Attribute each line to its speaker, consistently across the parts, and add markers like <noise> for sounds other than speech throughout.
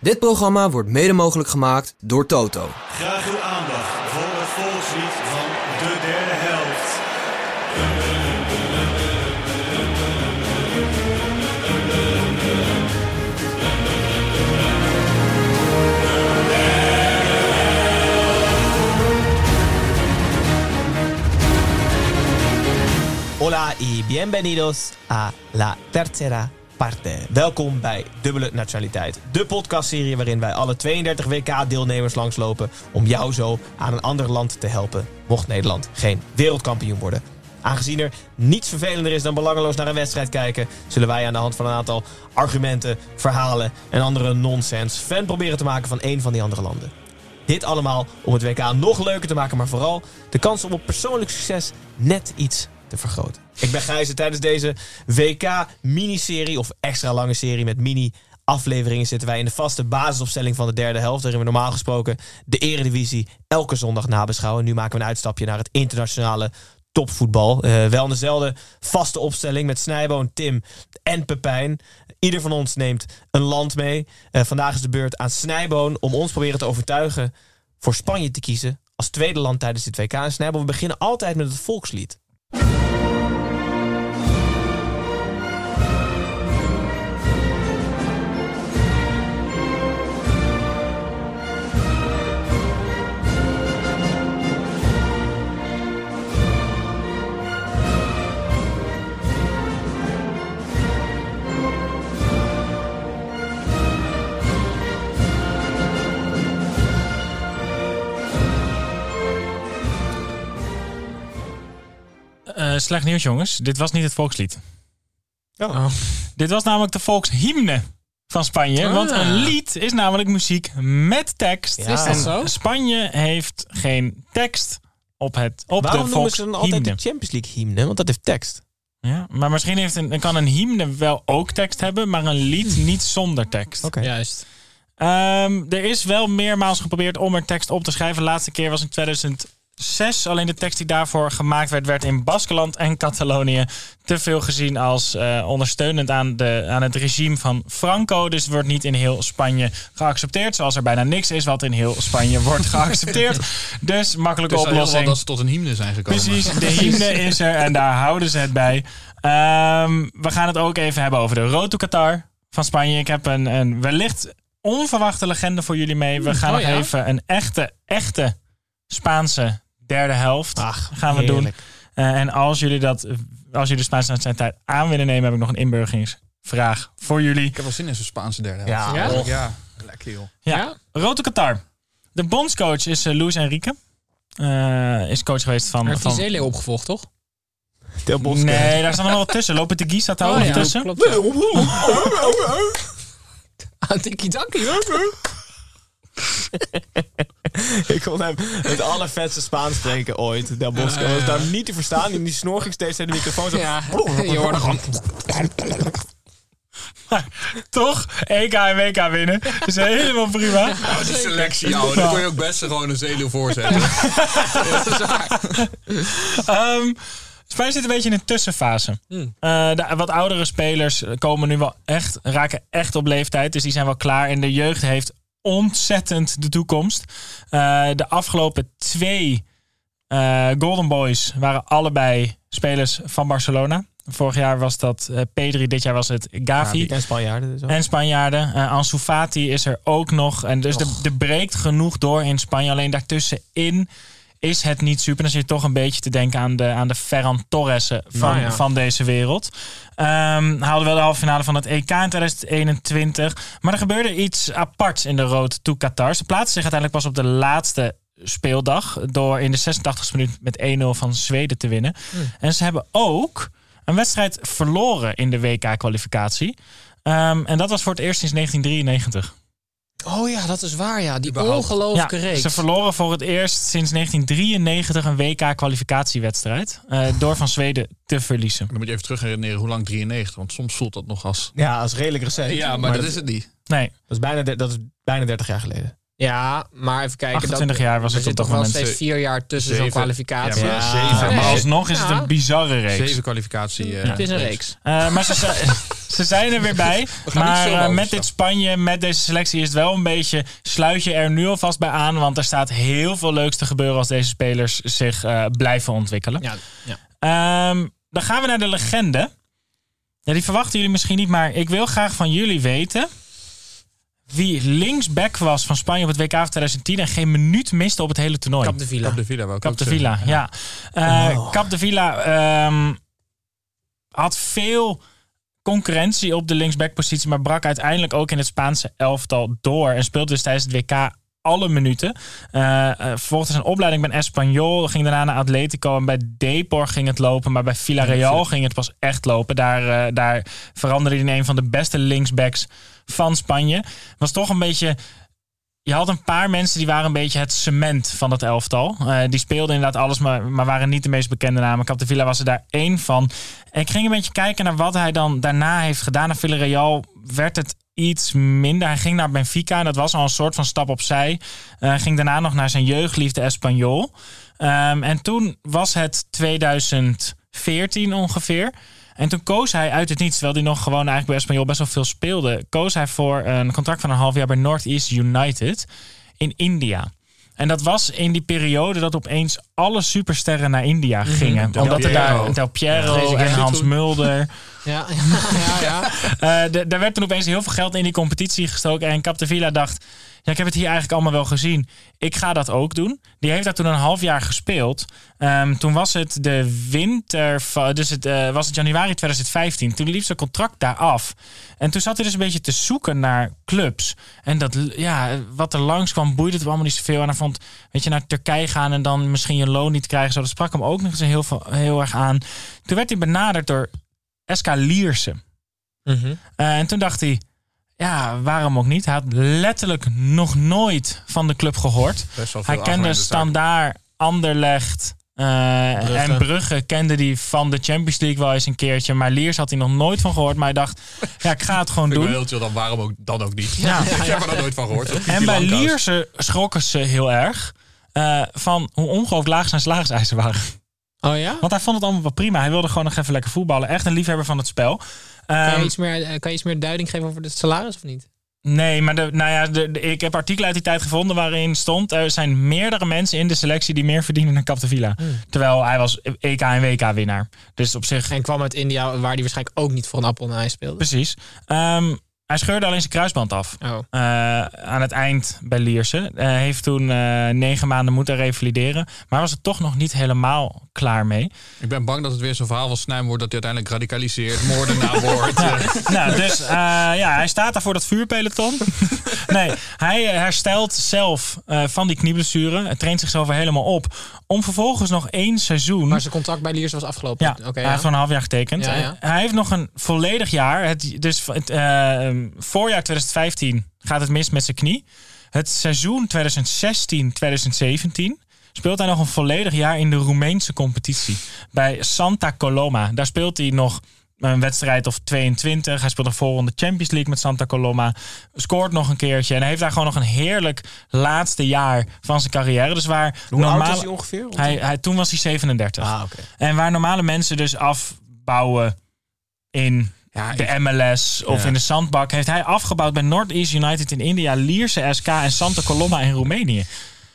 Speaker 1: Dit programma wordt mede mogelijk gemaakt door Toto.
Speaker 2: Graag uw aandacht voor het volkslied van de derde helft.
Speaker 3: Hola y bienvenidos a la tercera parte. Welkom bij Dubbele Nationaliteit. De podcastserie waarin wij alle 32 WK-deelnemers langslopen... om jou zo aan een ander land te helpen, mocht Nederland geen wereldkampioen worden. Aangezien er niets vervelender is dan belangeloos naar een wedstrijd kijken... zullen wij aan de hand van een aantal argumenten, verhalen en andere nonsens... fan proberen te maken van één van die andere landen. Dit allemaal om het WK nog leuker te maken, maar vooral de kans om op persoonlijk succes net iets te vergroten. Ik ben Gijs en tijdens deze WK-miniserie of extra lange serie met mini-afleveringen zitten wij in de vaste basisopstelling van de derde helft, waarin we normaal gesproken de Eredivisie elke zondag nabeschouwen. Nu maken we een uitstapje naar het internationale topvoetbal. Eh, wel in dezelfde vaste opstelling met Snijboon, Tim en Pepijn. Ieder van ons neemt een land mee. Eh, vandaag is de beurt aan Snijboon om ons proberen te overtuigen voor Spanje te kiezen als tweede land tijdens dit WK. En Snijboon, we beginnen altijd met het volkslied.
Speaker 4: Eh, slecht nieuws, jongens. Dit was niet het volkslied.
Speaker 3: Oh.
Speaker 5: Ah.
Speaker 4: Dit was namelijk de volkshymne van Spanje.
Speaker 3: Ah.
Speaker 4: Want een lied is namelijk muziek met tekst.
Speaker 3: Is dat
Speaker 4: en
Speaker 3: zo?
Speaker 4: Spanje heeft geen tekst op, het, op
Speaker 3: Waarom
Speaker 4: de
Speaker 3: noemen ze
Speaker 4: volkshymne.
Speaker 3: dan altijd de Champions League hymne? Want dat heeft tekst.
Speaker 4: ja, maar misschien heeft een, kan een hymne wel ook tekst hebben, maar een
Speaker 3: <laughs>
Speaker 4: lied niet zonder tekst.
Speaker 3: Oké.
Speaker 5: Juist.
Speaker 4: Ehm, er is wel meermaals geprobeerd om er tekst op te schrijven. De laatste keer was in 2006. Alleen de tekst die daarvoor gemaakt werd, werd in Baskeland en Catalonië te veel gezien als eh, ondersteunend aan, de, aan het regime van Franco. Dus het wordt niet in heel Spanje geaccepteerd. Zoals er bijna niks is wat in heel Spanje
Speaker 5: <laughs>
Speaker 4: wordt geaccepteerd. Dus makkelijke
Speaker 5: Dus al heel wat
Speaker 4: oplossing.
Speaker 5: dat ze tot een hymne zijn gekomen.
Speaker 4: Precies, de hymne is er en daar houden ze het bij. Ehm, we gaan het ook even hebben over de Road to Qatar van Spanje. Ik heb een, een wellicht onverwachte legende voor jullie mee. We gaan
Speaker 5: oh
Speaker 4: nog
Speaker 5: ja?
Speaker 4: even een echte, echte Spaanse derde helft gaan we doen.
Speaker 3: heerlijk.
Speaker 4: Eh, en als jullie, dat, als jullie de Spaanse nationaliteit aan willen nemen, heb ik nog een inburgeringsvraag voor jullie.
Speaker 5: Ik heb wel zin in zo'n Spaanse derde
Speaker 4: Ja,
Speaker 5: helft.
Speaker 4: Ja? och.
Speaker 5: ja. Oh. lekker joh.
Speaker 4: Ja. Rood to Qatar. De bondscoach is eh, Luis Enrique. Eh, is coach geweest van...
Speaker 5: Hij heeft die
Speaker 4: van-
Speaker 5: Zele opgevolgd, toch?
Speaker 4: Nee, daar staat nog wel tussen. Lopen de Gies staat daar ook nog tussen.
Speaker 5: Klopt, Oh ja. Ah,
Speaker 3: Tikkie-takkie. <laughs> Ik kon hem het allervetste Spaans spreken ooit. Del Bosco Hij was daar niet te verstaan. En die snor ging steeds naar de microfoon. Zo. <laughs>
Speaker 5: <laughs> Ja, je hoorde gewoon...
Speaker 4: Toch? EK en WK winnen. Dat is helemaal prima.
Speaker 5: Oh, die selectie, joh. Daar kon je ook best gewoon een Zele voorzetten. dat is waar.
Speaker 4: Ehm Spanje zit een beetje in een tussenfase.
Speaker 5: Hmm.
Speaker 4: Eh, de wat oudere spelers komen nu wel echt, raken echt op leeftijd. Dus die zijn wel klaar. En de jeugd heeft ontzettend de toekomst. Eh, de afgelopen twee eh, Golden Boys waren allebei spelers van Barcelona. Vorig jaar was dat eh, Pedri, dit jaar was het Gavi.
Speaker 3: En Spanjaarden dus ook.
Speaker 4: En Spanjaarden. Eh Ansu Fati is er ook nog. En dus de- er breekt genoeg door in Spanje. Alleen daartussenin is het niet super. Dan zit je toch een beetje te denken aan de, aan de Ferran Torressen van,
Speaker 3: Nou ja.
Speaker 4: van deze wereld. Ehm haalde wel de halve finale van het EK in 2021. Maar er gebeurde iets aparts in de road to Qatar. Ze plaatsten zich uiteindelijk pas op de laatste speeldag... door in de 86e minuut met 1-0 van Zweden te
Speaker 3: Hmm.
Speaker 4: winnen. En ze hebben ook een wedstrijd verloren in de WK-kwalificatie. Ehm, en dat was voor het eerst sinds 1993.
Speaker 6: Oh ja, dat is waar, ja. Die
Speaker 5: Überhaupt.
Speaker 6: ongelooflijke reeks.
Speaker 4: ze verloren voor het eerst sinds 1993 een WK-kwalificatiewedstrijd. eh, door van Zweden te verliezen.
Speaker 5: Dan moet je even terug herinneren hoe lang 93, want soms voelt dat nog als...
Speaker 3: Ja, dat is redelijk recent.
Speaker 5: Ja, maar, dat is het niet.
Speaker 4: Nee,
Speaker 3: Dat is bijna, der- dat is bijna 30 jaar geleden.
Speaker 6: Ja, maar even kijken.
Speaker 4: 28
Speaker 6: dat,
Speaker 4: jaar was
Speaker 6: er
Speaker 4: het op dat
Speaker 6: zit toch wel
Speaker 4: moment.
Speaker 6: steeds vier jaar tussen zo'n
Speaker 5: Zeven.
Speaker 6: kwalificatie.
Speaker 5: Ja, maar zeven.
Speaker 4: Maar
Speaker 5: Nee.
Speaker 4: alsnog is het
Speaker 6: Ja.
Speaker 4: een Nou. bizarre reeks.
Speaker 5: Zeven kwalificatie. eh,
Speaker 6: Het is een reeks.
Speaker 4: Eh, maar ze, zijn- ze zijn er weer bij.
Speaker 5: gaan niet
Speaker 4: Maar eh,
Speaker 5: zomaar
Speaker 4: met
Speaker 5: overstappen.
Speaker 4: dit Spanje, met deze selectie, is het wel een beetje. Sluit je er nu alvast bij aan. Want er staat heel veel leuks te gebeuren als deze spelers zich eh, blijven ontwikkelen.
Speaker 6: Ja, ja.
Speaker 4: Ehm, dan gaan we naar de legende. Ja, die verwachten jullie misschien niet, maar ik wil graag van jullie weten. Wie linksback was van Spanje op het WK van 2010 en geen minuut miste op het hele toernooi.
Speaker 6: Cap de Villa.
Speaker 5: Cap de Villa wou ik
Speaker 4: Cap
Speaker 5: ook
Speaker 4: de Villa,
Speaker 5: zeggen.
Speaker 4: ja. Eh Cap de Villa ehm, had veel concurrentie op de linksbackpositie, maar brak uiteindelijk ook in het Spaanse elftal door en speelde dus tijdens het WK alle minuten. Eh eh, vervolgde zijn opleiding bij Espanyol, ging daarna naar Atletico en bij Depor ging het lopen, maar bij Villarreal ging het pas echt lopen. Daar, eh, daar veranderde hij in een van de beste linksbacks van Spanje. Was toch een beetje je had een paar mensen die waren een beetje het cement van dat elftal. Eh, die speelden inderdaad alles, maar, maar waren niet de meest bekende namen. Capdevila was er daar één van. En ik ging een beetje kijken naar wat hij dan daarna heeft gedaan. Naar Villarreal werd het iets minder. Hij ging naar Benfica en dat was al een soort van stap opzij. Eh ging daarna nog naar zijn jeugdliefde Espanyol. Ehm, en toen was het 2014 ongeveer. En toen koos hij uit het niets, terwijl hij nog gewoon eigenlijk bij Espanyol best wel veel speelde, koos hij voor een contract van een half jaar bij Northeast United in India. En dat was in die periode dat opeens alle supersterren naar India gingen.
Speaker 5: Mhm. Del
Speaker 4: Omdat er
Speaker 5: Piero.
Speaker 4: daar Del Piero
Speaker 6: Ja,
Speaker 4: en
Speaker 6: goed
Speaker 4: Hans
Speaker 6: toen.
Speaker 4: Mulder.
Speaker 6: Ja, ja, ja.
Speaker 4: Eh, d- daar werd toen opeens heel veel geld in die competitie gestoken. En Capdevila dacht, ja, ik heb het hier eigenlijk allemaal wel gezien. Ik ga dat ook doen. Die heeft daar toen een half jaar gespeeld. Ehm, toen was het de winter, va- dus het, eh, was het januari 2015. Toen liep zijn contract daar af. En toen zat hij dus een beetje te zoeken naar clubs. En dat, l- ja, wat er langs kwam, boeide het hem allemaal niet zoveel. En hij vond, weet je, naar Turkije gaan en dan misschien je loon niet krijgen. Zo, dat sprak hem ook nog eens heel, veel- heel erg aan. Toen werd hij benaderd door SK Liersen.
Speaker 5: Mhm.
Speaker 4: Eh, en toen dacht hij, ja, waarom ook niet? Hij had letterlijk nog nooit van de club gehoord.
Speaker 5: Best wel
Speaker 4: Hij
Speaker 5: veel
Speaker 4: kende
Speaker 5: afleidende zaken.
Speaker 4: Standaard, Anderlecht eh, en Brugge kende die van de Champions League wel eens een keertje. Maar Liers had hij nog nooit van gehoord. Maar hij dacht, ja, ik ga het gewoon
Speaker 5: Vind <laughs> ik
Speaker 4: doen.
Speaker 5: wel heel chill, dan waarom ook, dan ook niet.
Speaker 4: Ja.
Speaker 5: <laughs> Ik heb er nog nooit van gehoord.
Speaker 4: En
Speaker 5: Die
Speaker 4: bij
Speaker 5: Lanka's.
Speaker 4: Liersen schrokken ze heel erg eh, van hoe ongelooflijk laag zijn slagerseisen waren.
Speaker 6: Oh ja?
Speaker 4: Want hij vond het allemaal wel prima. Hij wilde gewoon nog even lekker voetballen. Echt een liefhebber van het spel.
Speaker 6: Kan je,
Speaker 4: Ehm,
Speaker 6: iets meer, eh, kan je iets meer duiding geven over het salaris of niet?
Speaker 4: Nee, maar de, nou ja, de, de- ik heb artikelen uit die tijd gevonden waarin stond... er zijn meerdere mensen in de selectie die meer verdienen dan Capdevila. Terwijl hij was EK en WK-winnaar. Dus op zich...
Speaker 6: En kwam uit India, waar die waarschijnlijk ook niet voor een appel en een ei speelde.
Speaker 4: Precies. Ehm, hij scheurde alleen zijn kruisband af.
Speaker 6: Oh.
Speaker 4: Eh, aan het eind bij Liersen. Eh, heeft toen eh, negen maanden moeten revalideren. Maar was er toch nog niet helemaal klaar mee.
Speaker 5: Ik ben bang dat het weer zo'n verhaal van Snijm wordt dat hij uiteindelijk radicaliseert, moordenaar wordt. Eh,
Speaker 4: nou, dus eh, ja, hij staat daar voor dat vuurpeloton. nee, hij eh, herstelt zelf eh, van die knieblessure. Hij traint zichzelf er helemaal op. Om vervolgens nog één seizoen...
Speaker 6: Maar zijn contract bij Liers was afgelopen.
Speaker 4: Ja,
Speaker 6: Oké.
Speaker 4: hij
Speaker 6: ja.
Speaker 4: heeft gewoon een half jaar getekend.
Speaker 6: Ja, ja.
Speaker 4: Hij heeft nog een volledig jaar. Het, dus het, eh, voorjaar 2015 gaat het mis met zijn knie. Het seizoen 2016-2017 speelt hij nog een volledig jaar in de Roemeense competitie. Bij Santa Coloma. Daar speelt hij nog een wedstrijd of 22. Hij speelt een voorronde Champions League met Santa Coloma. Scoort nog een keertje. En hij heeft daar gewoon nog een heerlijk laatste jaar van zijn carrière. Dus waar
Speaker 3: Hoe
Speaker 4: normaal...
Speaker 3: oud is hij ongeveer?
Speaker 4: Hij, hij, toen was hij 37.
Speaker 3: Ah, oké.
Speaker 4: En waar normale mensen dus afbouwen in de MLS of in de zandbak, heeft hij afgebouwd bij Northeast United in India, Lierse SK en Santa Coloma in Roemenië.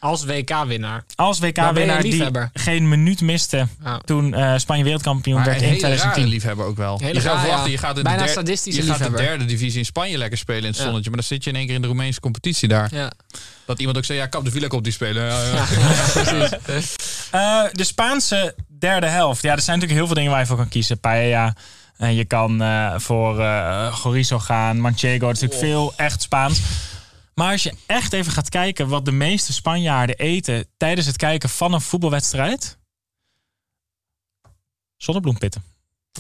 Speaker 6: Als WK-winnaar.
Speaker 4: Als
Speaker 6: ben je
Speaker 4: WK-winnaar
Speaker 6: een
Speaker 4: die
Speaker 6: liefhebber?
Speaker 4: geen minuut miste
Speaker 6: Ja.
Speaker 4: toen eh, Spanje wereldkampioen
Speaker 5: Maar
Speaker 4: werd
Speaker 5: een
Speaker 4: in
Speaker 5: hele rare
Speaker 4: 2010.
Speaker 5: liefhebber ook wel. je
Speaker 6: Hele raar,
Speaker 5: gaat
Speaker 6: ja.
Speaker 5: verwachten, je gaat in de,
Speaker 6: Bijna
Speaker 5: derde-
Speaker 6: sadistische
Speaker 5: je gaat de
Speaker 6: liefhebber.
Speaker 5: derde divisie in Spanje lekker spelen in het
Speaker 6: Ja.
Speaker 5: zonnetje. Maar dan zit je in één keer in de Roemeense competitie daar.
Speaker 6: Ja.
Speaker 5: Dat iemand ook zei, ja, kap de Villa komt die spelen. Ja, ja.
Speaker 4: <laughs> Eh, de Spaanse derde helft. Ja, er zijn natuurlijk heel veel dingen waar je voor kan kiezen. Paella. En je kan eh, voor eh Gorizo gaan. Manchego. Dat is
Speaker 5: Oh.
Speaker 4: natuurlijk veel echt Spaans. Maar als je echt even gaat kijken wat de meeste Spanjaarden eten tijdens het kijken van een voetbalwedstrijd. Zonnebloempitten.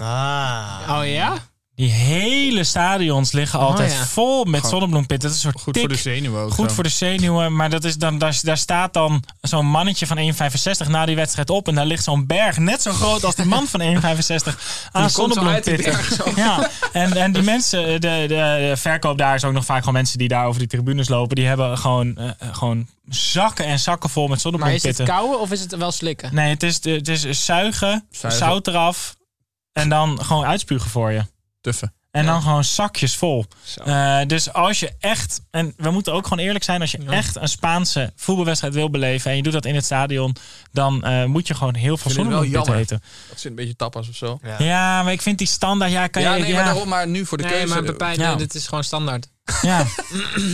Speaker 3: Ah.
Speaker 6: Oh ja?
Speaker 4: Die hele stadions liggen altijd
Speaker 6: ja.
Speaker 4: vol met zonnebloempitten. Dat is een soort
Speaker 5: Oh Goed
Speaker 4: tik.
Speaker 5: voor de zenuwen ook.
Speaker 4: Goed
Speaker 5: zo.
Speaker 4: voor de zenuwen, maar dat is dan, daar, daar staat dan zo'n mannetje van 1,65 na die wedstrijd op. En daar ligt zo'n berg, net zo groot als de man van 1,65 aan
Speaker 5: Die komt zo uit die
Speaker 4: zonnebloempitten.
Speaker 5: berg zo.
Speaker 4: Ja, en, en die mensen, de, de, de verkoop daar is ook nog vaak gewoon mensen die daar over die tribunes lopen. Die hebben gewoon, eh, gewoon zakken en zakken vol met
Speaker 6: Maar is
Speaker 4: zonnebloempitten.
Speaker 6: het kauwen of is het wel slikken?
Speaker 4: Nee, het is, het is zuigen,
Speaker 5: Zuigen.
Speaker 4: zout eraf en dan gewoon uitspugen voor je.
Speaker 5: Tuffen.
Speaker 4: En dan gewoon zakjes vol.
Speaker 5: Zo.
Speaker 4: Eh, dus als je echt, en we moeten ook gewoon eerlijk zijn, als je echt een Spaanse voetbalwedstrijd wil beleven en je doet dat in het stadion, dan eh, moet je gewoon heel veel
Speaker 5: vind het wel
Speaker 4: zonnebloempitten
Speaker 5: jammer.
Speaker 4: eten.
Speaker 5: Dat zit een beetje tapas of zo. Ja,
Speaker 4: Ja, maar ik vind die standaard, ja, kan je,
Speaker 5: nee,
Speaker 4: ja,
Speaker 5: maar daarom maar nu voor de
Speaker 6: Nee,
Speaker 5: keuze.
Speaker 6: maar Pepijn,
Speaker 4: Ja.
Speaker 6: eh, dit is gewoon standaard.
Speaker 4: ja. <clears throat>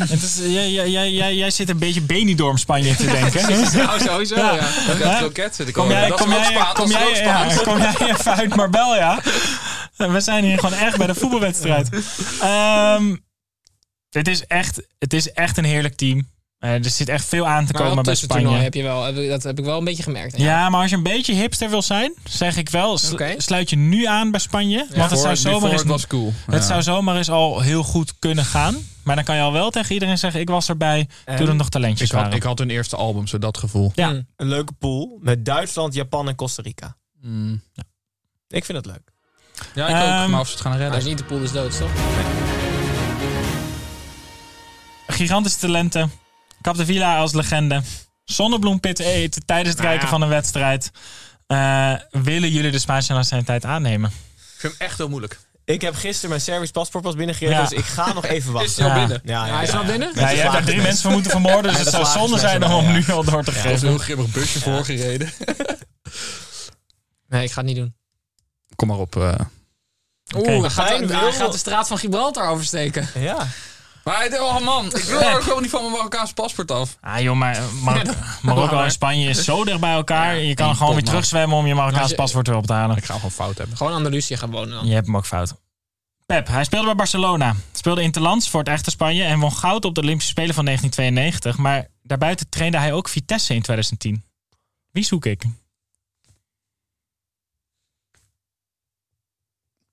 Speaker 4: het is, jij, jij, jij, jij, jij zit een beetje Benidorm Spanje
Speaker 5: <laughs>
Speaker 4: te denken.
Speaker 5: Oh,
Speaker 6: Nou, sowieso, ja.
Speaker 5: Dan gaat
Speaker 4: Hè?
Speaker 5: het kroket zitten
Speaker 4: Kom
Speaker 5: komen.
Speaker 4: jij,
Speaker 5: dat is
Speaker 4: kom
Speaker 5: ook
Speaker 4: jij,
Speaker 5: Spaans,
Speaker 4: kom
Speaker 5: dat is
Speaker 4: jij,
Speaker 5: ook Spaans.
Speaker 4: ja, kom jij even uit Marbella? We zijn hier gewoon echt bij de voetbalwedstrijd. Ehm, het, is echt, het is echt een heerlijk team. Eh, er zit echt veel aan te
Speaker 6: Maar wel
Speaker 4: komen bij
Speaker 6: tussentoernooi
Speaker 4: Spanje.
Speaker 6: heb je wel, heb ik- dat heb ik wel een beetje gemerkt.
Speaker 4: Ja, maar als je een beetje hipster wil zijn, zeg ik wel, sl-
Speaker 6: Oké.
Speaker 4: sluit je nu aan bij Spanje. want het
Speaker 5: Voor-
Speaker 4: zou zomaar
Speaker 5: before
Speaker 4: eens
Speaker 5: it was cool.
Speaker 4: het
Speaker 5: Ja.
Speaker 4: zou zomaar eens al heel goed kunnen gaan. Maar dan kan je al wel tegen iedereen zeggen, ik was erbij toen er nog talentjes
Speaker 5: ik, had,
Speaker 4: waren.
Speaker 5: ik had hun eerste album, zo dat gevoel.
Speaker 4: ja.
Speaker 6: Mm.
Speaker 3: Een leuke pool met Duitsland, Japan en Costa Rica.
Speaker 4: Hmm,
Speaker 5: Mm.
Speaker 3: Ik vind het leuk.
Speaker 5: Ja, ik ook.
Speaker 4: Ehm,
Speaker 5: Maar of ze het gaan
Speaker 6: Als
Speaker 5: redden.
Speaker 6: niet de pool is dood, toch?
Speaker 4: gigantische talenten. Capdevila als legende. Zonnebloempitten eten tijdens het kijken van een wedstrijd. Eh, willen jullie de Spaanse nationaliteit aannemen?
Speaker 5: Ik vind hem echt heel moeilijk.
Speaker 3: Ik heb gisteren mijn Servisch paspoort pas binnengekregen,
Speaker 4: Ja.
Speaker 3: dus ik ga
Speaker 6: <laughs>
Speaker 3: nog even wachten.
Speaker 5: Is hij al
Speaker 4: Ja.
Speaker 5: binnen?
Speaker 3: Ja,
Speaker 6: hij is wel binnen?
Speaker 4: Ja, je hebt daar drie mensen voor moeten vermoorden, dus
Speaker 3: Ja,
Speaker 4: het
Speaker 3: dat
Speaker 4: zou
Speaker 3: slagen
Speaker 4: zonde
Speaker 3: ze
Speaker 4: zijn om
Speaker 3: wel,
Speaker 4: hem
Speaker 3: ja.
Speaker 4: nu al door te
Speaker 5: Er is een
Speaker 4: geven.
Speaker 5: heel grimmig busje voorgereden.
Speaker 6: Nee, ik ga het niet doen.
Speaker 5: Kom maar op. eh.
Speaker 4: Oké.
Speaker 6: Oeh, hij gaat,
Speaker 3: Pepijn
Speaker 6: hij
Speaker 3: wil-
Speaker 6: gaat de straat van Gibraltar oversteken.
Speaker 3: Ja.
Speaker 5: Maar het- oh man, ik wil er gewoon niet van mijn Marokkaanse paspoort af.
Speaker 4: Ah joh, maar <laughs> Mar- Marokko en Spanje is zo dicht bij elkaar. je kan gewoon
Speaker 5: één
Speaker 4: weer
Speaker 5: pot, man.
Speaker 4: terugzwemmen om je
Speaker 6: Als
Speaker 4: Marokkaanse
Speaker 6: je-
Speaker 4: paspoort weer op te halen.
Speaker 5: Ik ga hem gewoon fout hebben.
Speaker 6: Gewoon Andalusië gaan wonen dan.
Speaker 4: Je hebt hem ook fout. Pep, hij speelde bij Barcelona. Speelde interlands voor het echte Spanje en won goud op de Olympische Spelen van 1992. Maar daarbuiten trainde hij ook Vitesse in 2010. Wie zoek ik?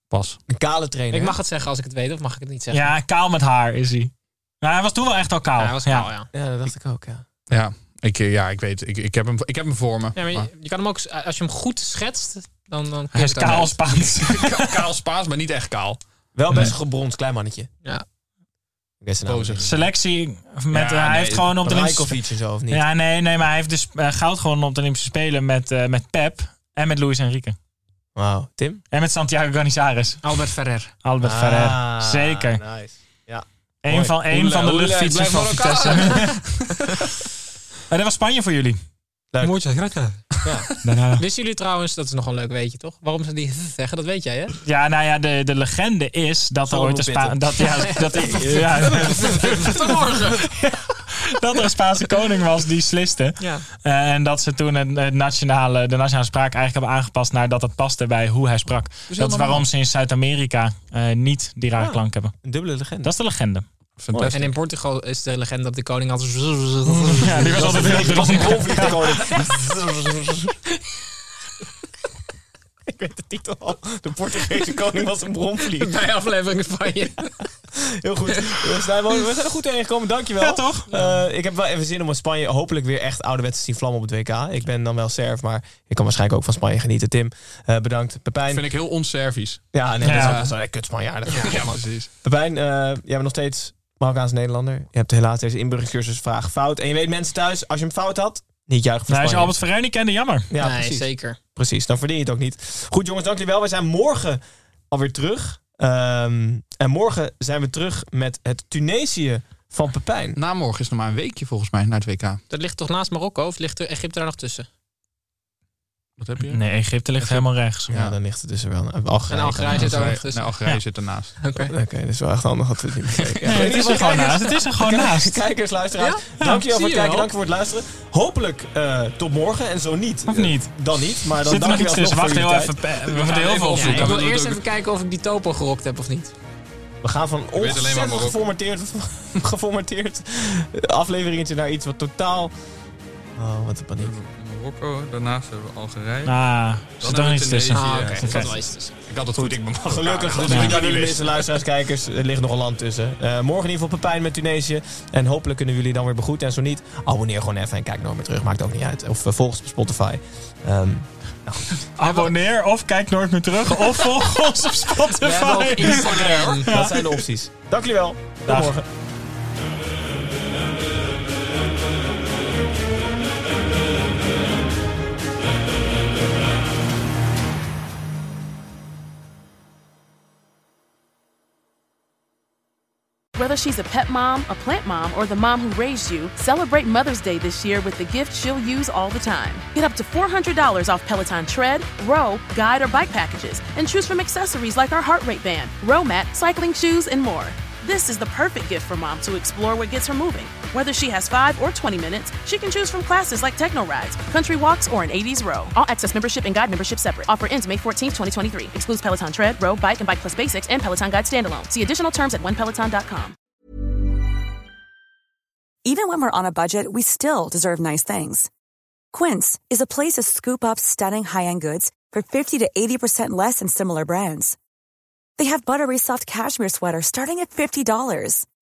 Speaker 5: Pas.
Speaker 3: Een kale trainer.
Speaker 6: Ik mag het zeggen als ik het weet, of mag ik het niet zeggen?
Speaker 4: Ja, kaal met haar is hij. Nou, hij was toen wel echt al kaal.
Speaker 6: Ja, hij was
Speaker 4: Ja.
Speaker 6: kaal, ja.
Speaker 3: Ja, dat dacht ik ook, ja.
Speaker 5: Ja, ik, eh, ja, ik weet. Ik, ik, heb hem, ik heb hem voor me.
Speaker 6: Ja, maar je, je kan hem ook, s- als je hem goed schetst, dan... dan
Speaker 4: Hij is
Speaker 6: kun je het
Speaker 4: kaal
Speaker 6: ook.
Speaker 4: Spaans.
Speaker 5: Ka- kaal Spaans, maar niet echt kaal.
Speaker 3: Wel best gebrons, klein mannetje.
Speaker 6: Ja.
Speaker 3: Ik weet zijn naam
Speaker 5: Bozer.
Speaker 3: niet.
Speaker 4: Selectie. Met,
Speaker 5: Ja,
Speaker 4: eh, hij
Speaker 5: nee,
Speaker 4: heeft gewoon op de Olympische
Speaker 3: Rajkovic en zo, of niet?
Speaker 4: Ja, nee, nee, maar hij heeft dus eh, goud gewonnen op de Olympische Spelen met, eh, met Pep en met Luis Enrique.
Speaker 3: Wauw. Tim?
Speaker 4: En met Santiago Canizares.
Speaker 6: Albert Ferrer.
Speaker 3: Ah.
Speaker 4: Albert Ferrer.
Speaker 6: Ah,
Speaker 4: Zeker.
Speaker 3: Nice.
Speaker 4: Eén
Speaker 3: mooi.
Speaker 4: van, één
Speaker 5: Oele,
Speaker 4: van de
Speaker 5: oele,
Speaker 4: luchtfietsers
Speaker 5: ik
Speaker 4: van
Speaker 5: blijf
Speaker 4: Vitesse. <laughs> Eh, dat was Spanje voor jullie.
Speaker 7: Muchas gracias.
Speaker 6: Wisten jullie trouwens, dat is nog een leuk weetje, toch? Waarom ze die <laughs> zeggen, dat weet jij, hè?
Speaker 4: Ja, nou ja, de, de legende is dat er ooit een Spaanse... Dat, ja, dat, ja, <laughs> dat er een Spaanse koning was die sliste.
Speaker 6: Ja.
Speaker 4: Eh, en dat ze toen het, het nationale, de nationale spraak eigenlijk hebben aangepast naar dat het paste bij hoe hij sprak. dat is waarom ze in Zuid-Amerika eh, niet die rare klank hebben.
Speaker 3: Een dubbele legende.
Speaker 4: Dat is de legende.
Speaker 5: Fantastisch.
Speaker 6: En in Portugal is de legende dat de koning altijd...
Speaker 4: <laughs> Ja, die was altijd heel
Speaker 3: was een
Speaker 4: dronken.
Speaker 3: rolvliegkoning. Ik weet de titel al. De Portugese koning was een bronvlieg.
Speaker 6: Bij aflevering Spanje.
Speaker 3: Heel goed. We zijn, wel- we zijn er goed doorheen gekomen, dankjewel.
Speaker 4: Ja, toch?
Speaker 3: Eh, ik heb wel even zin om in Spanje hopelijk weer echt ouderwets te zien vlammen op het WK. Ik ben dan wel Serf, maar ik kan waarschijnlijk ook van Spanje genieten. Tim, eh, bedankt. Pepijn.
Speaker 5: Vind ik heel onservies.
Speaker 3: Ja, nee,
Speaker 4: Ja.
Speaker 3: dat is wel een kut Spanjaardig.
Speaker 5: Ja, precies.
Speaker 3: Pepijn, eh, jij bent nog steeds Marokkaans-Nederlander. Je hebt helaas deze inburgercursus vraag fout. En je weet mensen thuis, als je hem fout had, niet juichen voor
Speaker 4: Nou, als
Speaker 3: Spanje.
Speaker 4: je Albert Ferrer niet kende, jammer.
Speaker 3: Ja,
Speaker 6: nee,
Speaker 3: precies.
Speaker 6: zeker.
Speaker 3: Precies, dan verdien je het ook niet. Goed jongens, dank jullie wel. We zijn morgen alweer terug. Ehm, en morgen zijn we terug met het Tunesië van Pepijn.
Speaker 5: Na morgen is nog maar een weekje volgens mij naar het WK.
Speaker 6: Dat ligt toch naast Marokko, of ligt er Egypte daar nog tussen?
Speaker 5: Wat heb je?
Speaker 4: Nee, Egypte ligt helemaal rechts.
Speaker 3: Ja, dan ligt het dus er wel. een- Algerije.
Speaker 6: En Algerije zit ook nog
Speaker 5: Algerije,
Speaker 6: tussen.
Speaker 5: nou, Algerije zit ernaast.
Speaker 6: Oké.
Speaker 3: Oké, dat is wel echt handig dat we <laughs> het niet meer weten.
Speaker 4: Nee, het is er gewoon naast. Het is er gewoon naast.
Speaker 3: Kijkers, luisteraars,
Speaker 6: Ja,
Speaker 3: dankjewel
Speaker 6: zie
Speaker 3: voor
Speaker 6: je
Speaker 3: het kijken,
Speaker 6: wel.
Speaker 3: dank je voor het luisteren. Hopelijk eh, tot morgen en zo niet.
Speaker 4: Of niet?
Speaker 3: eh, dan niet, maar dan
Speaker 4: Zit er nog
Speaker 3: dank je
Speaker 4: iets
Speaker 3: wel
Speaker 4: tussen?
Speaker 3: voor
Speaker 4: Wacht
Speaker 3: jullie
Speaker 4: heel
Speaker 3: tijd.
Speaker 4: even. Pe- We moeten heel veel
Speaker 6: Ja, ik
Speaker 4: opzoeken.
Speaker 6: wil
Speaker 5: dat
Speaker 6: eerst
Speaker 5: doe ik.
Speaker 6: even kijken of ik die topo gerokt heb of niet.
Speaker 3: We gaan van
Speaker 5: alleen maar
Speaker 3: ontzettend
Speaker 5: Marokko.
Speaker 3: geformateerd, <laughs> geformateerd afleveringetje naar iets wat totaal... Oh, wat een paniek.
Speaker 5: Marokko. Daarnaast hebben we Algerije.
Speaker 4: Ah, er zit
Speaker 5: hebben
Speaker 4: toch
Speaker 5: we
Speaker 4: niets tussen.
Speaker 5: Tunesië.
Speaker 8: Ah,
Speaker 3: eh,
Speaker 8: oké.
Speaker 5: Ja,
Speaker 8: Dat wel iets tussen.
Speaker 5: Ik had het goed, ik ben Marokkaan.
Speaker 3: Gelukkig, dus
Speaker 4: Ja.
Speaker 3: met jullie mensen, luisteraars, kijkers, er ligt nog een land tussen. Eh, morgen in ieder geval Pepijn met Tunesië. En hopelijk kunnen jullie dan weer begroeten. En zo niet, abonneer gewoon even en kijk nooit meer terug. Maakt ook niet uit. Of volgens volg ons op Spotify. Ehm,
Speaker 4: Abonneer of kijk nooit meer terug. Of volg ons op
Speaker 8: We hebben ook
Speaker 4: Spotify.
Speaker 8: Instagram.
Speaker 3: Dat zijn de opties. Dank jullie wel. Tot
Speaker 4: Dag.
Speaker 3: morgen.
Speaker 7: Whether she's a pet mom, a plant mom, or the mom who raised you, celebrate Mother's Day this year with the gift she'll use all the time. Get up to $400 off Peloton tread, row, guide, or bike packages, and choose from accessories like our heart rate band, row mat, cycling shoes, and more. This is the perfect gift for mom to explore what gets her moving. Whether she has 5 or 20 minutes, she can choose from classes like techno rides, country walks, or an 80s row. All access membership and guide membership separate. Offer ends May 14, 2023. Excludes Peloton Tread, Row, Bike, and Bike Plus Basics and Peloton Guide Standalone. See additional terms at onepeloton.com.
Speaker 6: Even when we're on a budget, we still deserve nice things. Quince is a place to scoop up stunning high-end goods for 50 to 80% less than similar brands. They have buttery soft cashmere sweaters starting at $50,